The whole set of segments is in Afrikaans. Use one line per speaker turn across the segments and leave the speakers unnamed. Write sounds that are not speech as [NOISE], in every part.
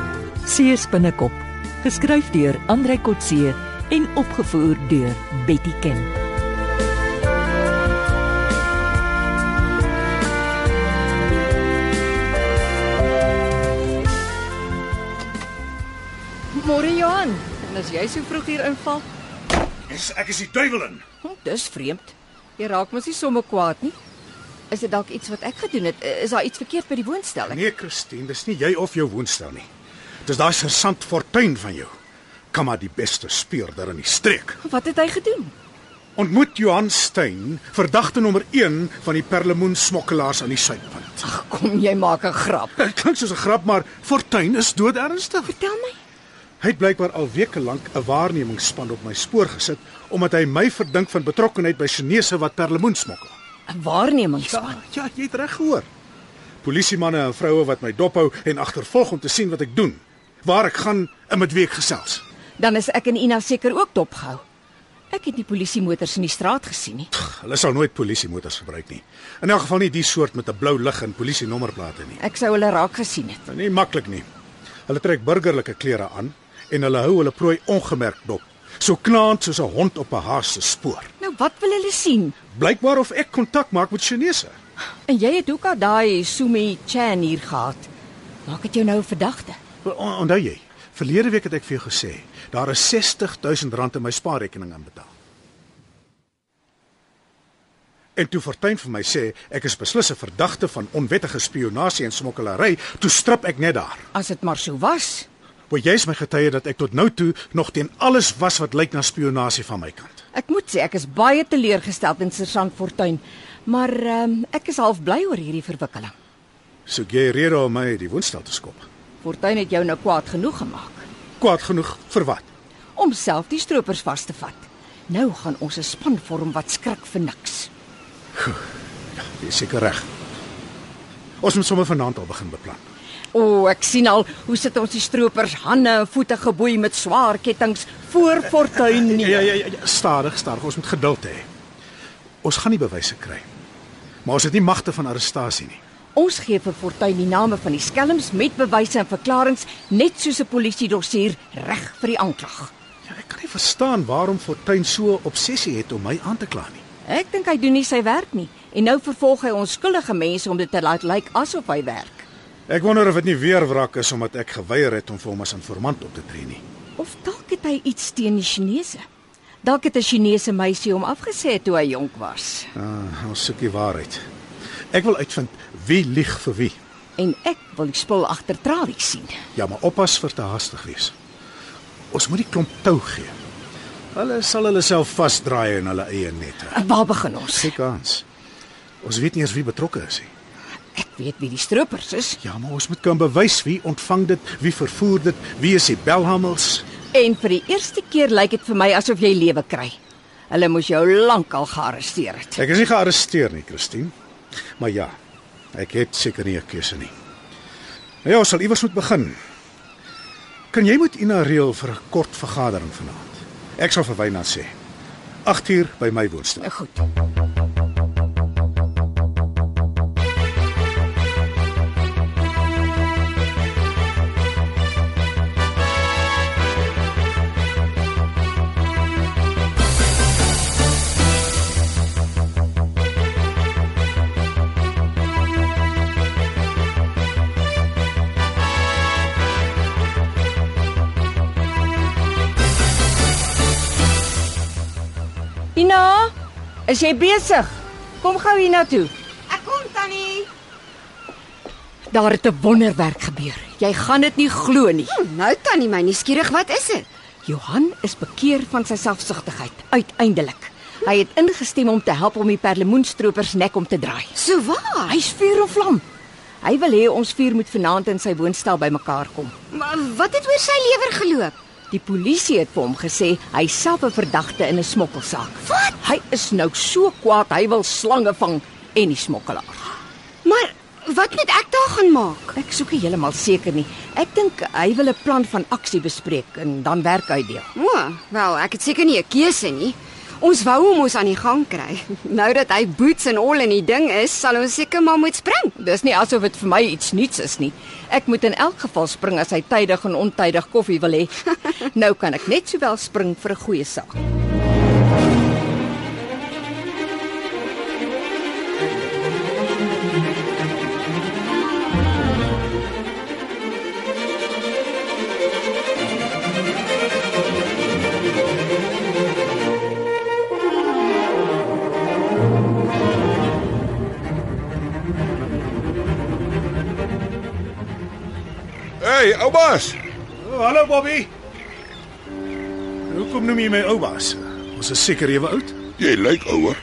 Kotse se binnekop, geskryf deur Andrei Kotse en opgevoer deur Betty Ken.
Môre Johan, en as jy so vroeg hier inval,
Is ek is die duiwel in.
hm, dis vreemd. Jy raak mos nie sommer kwaad nie. Is dit dalk iets wat ek gedoen het? Eh, Is daar iets verkeerd by die woonstel? Ek-
Nee, Christine, dis nie jy of jou woonstel nie. Dis daai sergeant Fortuin van jou. Kom maar die beste speurder in die streek.
Wat het hy gedoen?
Ontmoet Johan Stein, verdagte nommer 1 van die perlemoensmokkelaars aan die Suidpunt.
Ag, kom jy maak 'n grap.
Dit klink soos 'n grap, maar Fortuin is doodernstig.
Vertel my.
Hy het blykbaar al weke lank 'n waarnemingsspan op my spoor gesit omdat hy my verdink van betrokkeheid by Chinese wat perlemoen smokkel.
'n Waarneming.
Ja, ja, jy het reg gehoor. Polisiemanne en vroue wat my dophou en agtervolg om te sien wat ek doen, waar ek gaan en met wie ek gesels.
Dan is ek en Ina seker ook dopgehou. Ek het die polisie motors in die straat gesien nie.
Pff, Hulle sal nooit polisiemotors gebruik nie. In elk geval nie die soort met 'n blou lig en polisienommerplate nie.
Ek sou hulle raak gesien het.
Nie maklik nie. Hulle trek burgerlike klere aan en hulle hou hulle prooi ongemerk dop, so knaand soos 'n hond op 'n haas se spoor.
Nou wat wil hulle sien?
Blykbaar of ek kontak maak met Chinese.
En jy het ook al daai Sumi Chan hier gehad. Maak dit jou nou 'n verdagte?
Wel, on- Onthou jy, verlede week het ek vir jou gesê, daar is 60000 rand in my spaarrekening aanbetaal. En toe Fortuin vir my sê ek is beslis 'n verdagte van onwettige spionasie en smokkelary, toe strip ek net daar.
As dit maar so was.
Want jy is my getuie dat ek tot nou toe nog teen alles was wat lyk na spionasie van my kant.
Ek moet sê ek is baie teleurgesteld in Sergeant Fortuin, maar um, ek is half bly oor hierdie verwikkeling.
Soek jy 'n rede om my uit die woonstel te skop?
Fortuin het jou nou kwaad genoeg gemaak
Kwaad genoeg vir wat?
om self die stroopers vas te vat. Nou gaan ons 'n span vorm wat skrik vir niks.
Jy is seker reg. Ons moet sommer vanaand al begin beplan.
O, oh, ek sien al hoe sit ons die stroopers hande en voete geboei met swaar kettinge voor Fortuin nie.
Ja, ja, ja, ja, stadig, stadig. Ons moet geduld hê. Ons gaan nie bewyse kry. Maar ons het nie magte van arrestasie nie.
Ons gee vir Fortuin die name van die skelms met bewyse en verklaringe net soos 'n polisie dossier reg vir die aanklag.
Ja, ek kan nie verstaan waarom Fortuin so 'n obsessie het om my aan te kla nie.
Ek dink hy doen nie sy werk nie en nou vervolg hy onskuldige mense om dit te laat lyk asof hy werk.
Ek wonder of dit nie weer wrak is omdat ek geweier het om vir hom as informant op te tree nie.
Of dalk het hy iets teen die Chinese. Dalk het 'n Chinese meisie hom afgesê toe hy jonk was.
Ah, ons soek die waarheid. Ek wil uitvind wie lieg vir wie.
En ek wil die spul agter tralies sien.
Ja, maar oppas vir te haastig wees. Ons moet die klomp tou gee. Hulle sal hulle self vasdraai in hulle eie nette.
En waar begin ons?
Kyk ons. Ons weet nie eens wie betrokke is nie.
Ek weet wie die stroopers is
Ja, maar ons moet kan bewys wie ontvang dit, wie vervoer dit, wie is die belhamels?
en vir die eerste keer lyk dit vir my asof jy lewe kry. Hulle moes jou lankal gearresteer het.
Ek is nie gearresteer nie, Christine. Maar ja, ek het seker nie 'n keuse nie. Nou ja, ons sal iewers moet begin. Kan jy met Ina reël vir 'n kort vergadering vanaand? Ek sal vir Wynand sê. 8 uur by my woonstel.
Nou goed. Ina, is jy besig? Kom gou hiernatoe.
Ek kom tannie.
Daar het 'n wonderwerk gebeur. Jy gaan dit nie glo nie.
Nou tannie, my nuuskierig, wat is dit?
Johan is bekeer van sy selfsugtigheid uiteindelik. Hy het ingestem om te help om die perlemoenstroopers nek om te draai.
So waar?
Hy's vuur en vlam. Hy wil hê ons vier moet vanaand in sy woonstel bymekaar kom.
Maar wat het oor sy lewer geloop?
Die polisie het vir hom gesê hy is self 'n verdagte in 'n smokkelsaak. Wat? Hy is nou so kwaad, hy wil slange vang en die smokkelaar.
Maar wat moet ek daar gaan maak?
Ek soek nie heeltemal seker nie. Ek dink hy wil 'n plan van aksie bespreek en dan werk uitdeel.
O, wel, ek het seker nie 'n keuse nie. Ons wou hom ons aan die gang kry. [LAUGHS] Nou dat hy boots en al in die ding is, sal ons seker maar moet spring.
Dis nie asof dit vir my iets nuuts is nie. Ek moet in elk geval spring as hy tydig en ontydig koffie wil hê.
[LAUGHS]
nou kan ek net sowel spring vir 'n goeie saak.
Hey, oupas.
Oh, hallo Bobby. Hoekom noem jy my oubaas? Ons is seker ewe oud.
Jy lyk ouer.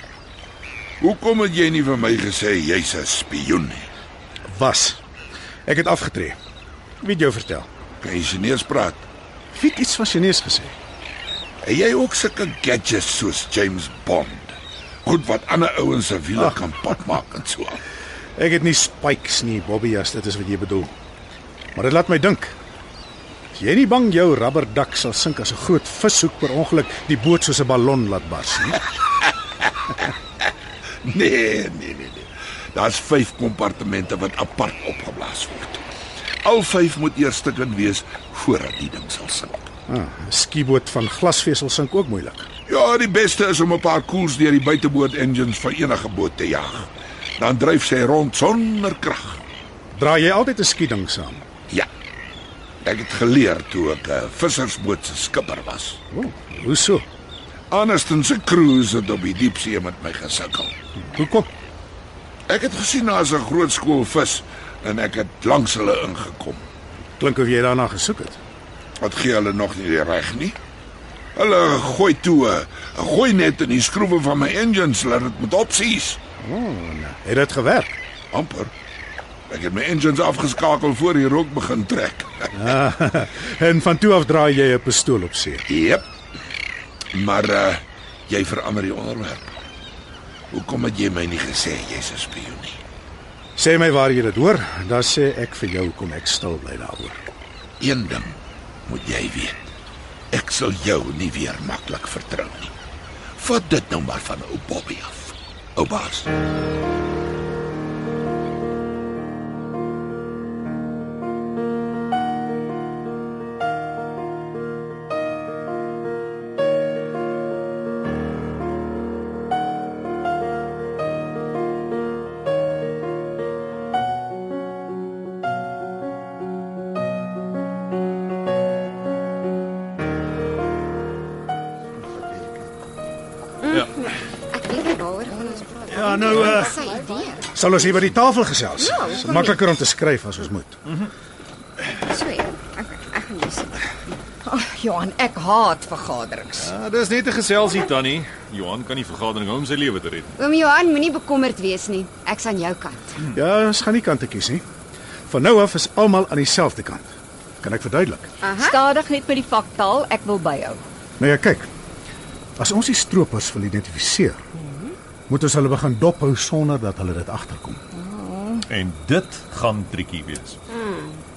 Hoekom het jy nie vir my gesê jy's 'n spioen nie?
Was. Ek het afgetree. Wie het jou vertel?
Kan jy Chinees praat?
Wie het iets van Chinees gesê?
Het jy ook sulke gadgets soos James Bond? Goed wat ander ouens se wiele
Ag.
kan pad maak en so. aan. [LAUGHS]
Ek het nie spikes nie, Bobby, as dit is wat jy bedoel. Maar dit laat my dink. Is jy nie bang jou rubberdak sal sink as 'n groot vishoek per ongeluk die boot soos 'n ballon laat bars nie?
Nee, nee, nee, nee. Daar's 5 kompartemente wat apart opgeblaas word. Al 5 moet eers stukken wees voordat die ding sal sink.
Ah, 'n skieboot van glasvesel sink ook moeilik.
Ja, die beste is om 'n paar koels deur die buiteboord engines van enige boot te jag. Dan dryf sy rond sonder krag.
Dra jy altyd 'n skieding saam?
Ja. Ek het geleer toe ek 'n vissersboot se skipper was.
Oh, hoeso?
Anderston se cruise het op die diepsee met my gesukkel.
Hoekom?
Ek het gesien daar's 'n groot skool vis en ek het langs hulle ingekom.
Klink of jy daarna gesoek het.
Wat gee hulle nog nie die reg nie? Hulle gooi toe, eh, gooi net in die skroewe van my engines laat dit moet opsies.
Het dit gewerk?
amper. Ek het my engines afgeskakel voor die rook begin trek.
Ah, en van toe af draai jy 'n pistool op see.
Jep. Maar uh, jy verander die onderwerp. Hoekom het jy my nie gesê jy's 'n spioen nie?
Sê my waar jy dit hoor, dan sê ek vir jou kom ek stil bly daaroor.
Een ding moet jy weet. Ek sal jou nie weer maklik vertrou nie. Vat dit nou maar van ou Bobby af. Ou baas.
Ek weet nie waaroor gaan ons praat.
Ja, nou, eh,
sy idee.
Sal ons hier by die tafel gesels?
Ja,
Dis
hoekom
makliker om te skryf as ons moet.
So, ek ek gaan lees.
Ag, Johan, ek haat vergaderings.
Ja, dis net 'n geselsie tannie. Johan kan die vergadering hou om sy lewe te red.
Oom Johan, moenie bekommerd wees nie. Ek's aan jou kant.
Ja, ons gaan nie kante kies nie. Van nou af is almal aan dieselfde kant. Kan ek verduidelik?
Stadig net met die faktaal, ek wil byhou.
Nou ja, kyk. As ons die stroopers wil identifiseer, moet ons hulle begin dophou sonder dat hulle dit agterkom.
En dit gaan triekie wees.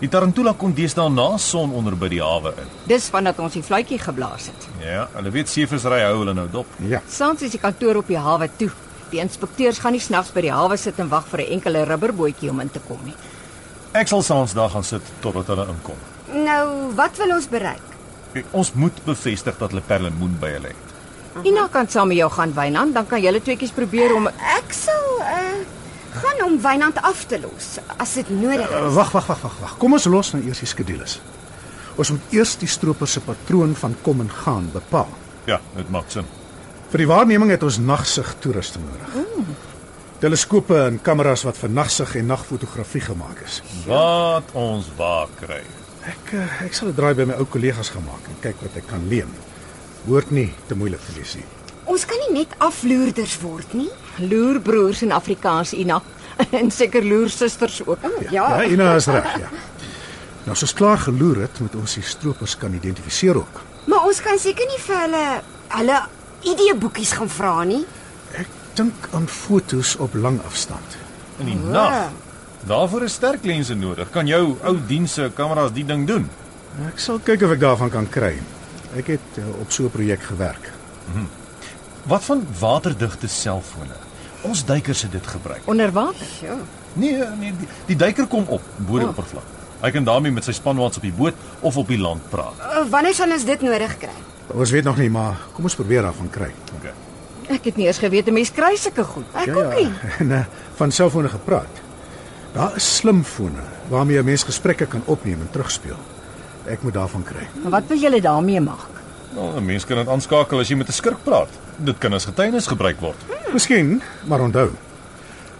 Die Tarantula kom deesdae na son onder by die hawe in.
Dis vandat ons die vletjie geblaas het.
Ja, hulle weet seevissery hou hulle nou dop.
Ja.
Soms is die kantoor op die hawe toe. Die inspekteurs gaan nie snags by die hawe sit en wag vir 'n enkele rubberbootjie om in te kom nie.
Mhm.
Ek sal saans daar gaan sit totdat hulle inkom.
Nou, wat wil ons bereik?
Kyk, ons moet bevestig dat hulle perlemoen by hulle het.
Ina kan saam met jou gaan Wynand, dan kan julle tweeetjies probeer om
Ek sal uh gaan om Wynand af te los as dit nodig
Eh,
is.
Wag, wag, wag, wag, wag. Kom ons los nou eers die skedules. Ons moet eers die stroopers se patroon van kom en gaan bepaal.
Ja, dit maak sin.
Vir die waarneming het ons nagsig toerusting nodig. Teleskope en kameras wat vir nagsig en nagfotografie gemaak is.
Laat ons waak kry.
Ek eh, ek sal 'n draai by my ou kollegas gaan maak en kyk wat ek kan leen. Hoort nie te moeilik te wees nie.
Ons kan nie net afloerders word nie.
loerbroers in Afrikaans Ina [LAUGHS] en seker loersusters ook.
Oh,
ja Ina is reg, ja. Nou as ons klaar geloer het, moet ons die stroopers kan identifiseer ook.
Maar ons kan seker nie vir hulle hulle ideeboekies gaan vra nie.
Ek dink aan fotos op lang afstand.
In die nag. Daarvoor is sterk lense nodig. Kan jou ou dienste kameras die ding doen?
Ek sal kyk of ek daarvan kan kry. Ek het eh, op so 'n projek gewerk.
Wat van waterdigte selfone? Ons duikers het dit gebruik.
Onder water.
Ja.
Nee, nee, die, die duiker kom op bo die oppervlak. Hy kan daarmee met sy spanmaats op die boot of op die land praat.
Ah. Eh,
Uh, Wanneer sal ons dit nodig kry?
Ons weet nog nie, maar kom ons probeer daarvan kry.
Okay.
Ek het nie eens geweet 'n mens kry sulke goed. Ja.
Ek ook nie.
[LAUGHS] En eh, van selfone gepraat. Daar is slimfone waarmee 'n mens gesprekke kan opneem en terugspeel. Ek moet daarvan kry.
Maar wat wil julle daarmee maak?
Nou, 'n mens kan dit aanskakel as jy met 'n skurk praat. Dit kan as getuienis gebruik word.
Miskien, maar onthou.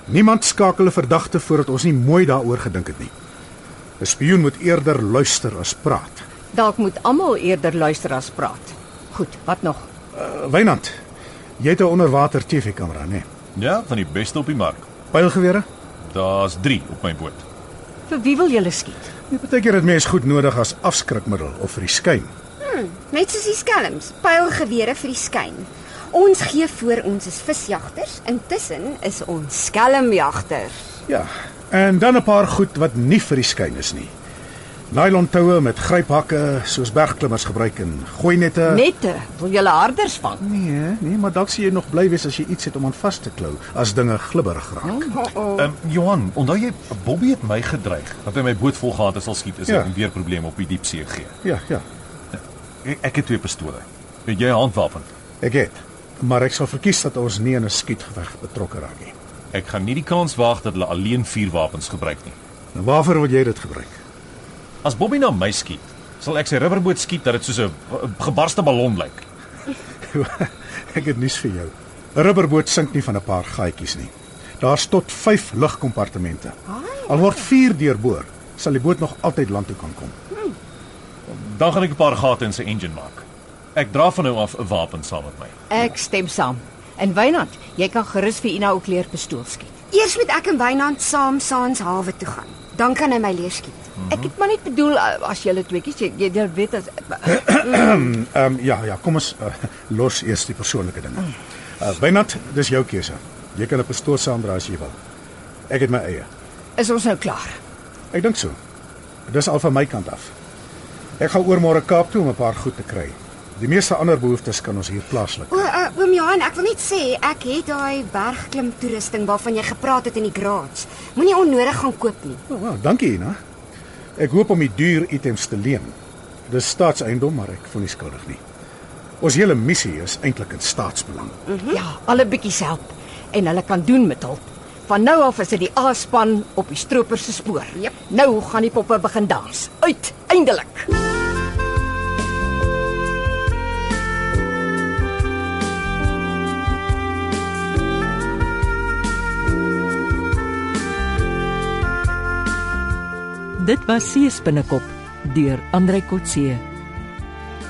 Niemand skakel 'n verdagte voordat ons nie mooi daaroor gedink het nie. 'n Spioen moet eerder luister as praat.
Dalk moet almal eerder luister as praat. Goed, wat nog?
Uh, Wynand, jy het 'n onderwater TV-kamera, né? Nee?
Ja, van die beste op die mark.
Pylgewere?
Daar's 3 op my boot.
Vir wie wil julle skiet?
Jy Ja, partykeer het mens goed nodig as afskrikmiddel of vir die skyn.
Net soos die skelms, pylgewere vir die skyn. Ons gee voor ons is visjagters, intussen is ons skelmjagters.
Ja. En dan 'n paar goed wat nie vir die skyn is nie. Nylon toue met gryphakke soos bergklimmers gebruik en gooi
Eh.
nette.
Nette, eh, wil julle harders vang?
nee, nee, maar dalk sien jy nog bly wees as jy iets het om aan vas te klou as dinge glibberig raak.
Ehm um, Johan, onthou jy Bobby het my gedreig dat hy my boot volgehad het sal skiet as
Ja.
ja. ek weer probleme op die diepsee gee.
Ja, ja.
Ek, ek het twee pistole. Het jy 'n handwapen?
Ek het. Maar ek sal verkies dat ons nie in 'n skietgeveg betrokke raak nie.
Ek gaan nie die kans waag dat hulle alleen vuurwapens gebruik nie.
Nou waarvoor wil jy dit gebruik? [LAUGHS]
As Bobby na my skiet, sal ek sy rubberboot skiet dat dit soos 'n b- gebarste ballon lyk.
ek het nuus vir jou. 'n Rubberboot sink nie van 'n paar gaatjies nie. Daar's tot 5 lugkompartemente. Al word 4 deurboor, sal die boot nog altyd land toe kan kom.
Dan gaan ek 'n paar gate in sy engine maak. Ek dra van nou af 'n wapen saam met my.
Ek stem saam. En Wynand, jy kan gerus vir Ina ook leer pistool skiet.
Eers moet ek en Wynand saam saans hawe toe gaan. Dan kan hy my leer skiet.
Ek het maar net bedoel uh, as julle tweeetjies, jy, jy, jy weet as
Ehm um, ja, ja, kom ons uh, [LAUGHS] los eers die persoonlike dinge. Uh, Bynat, dis jou keuse. Jy kan 'n pistool saamdra as jy wil. Ek het my eie.
is ons nou klaar.
Ek dink so. Dis al van my kant af. Ek gaan oor môre Kaap toe om 'n paar goed te kry. Die meeste ander behoeftes kan ons hier plaaslik.
O, uh, oom Johan, ek wil net sê ek het daai bergklim toerusting waarvan jy gepraat het in die garage. Moenie onnodig gaan koop nie.
Oh, wow, dankie, Ina. Ek hoop om die duur items te leen. Dis staatseiendom, maar ek voel nie skuldig nie. Ons hele missie is eintlik in staatsbelang.
Ja, alle bietjies help en hulle kan doen met hulp. Van nou af is dit die A-span op die stroper se spoor.
Jep.
Nou gaan die poppe begin dans. Uit, eindelik.
Dit was Sees binnekop deur Andrei Kotse.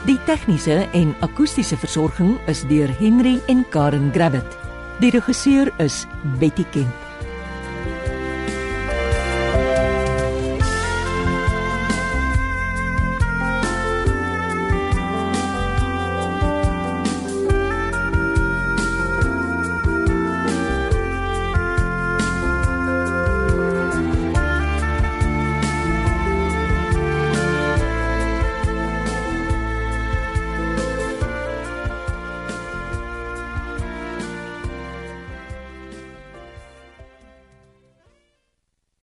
Die tegniese en akoestiese versorging is deur Henry en Karen Gravett. Die regisseur is Betty Kemp.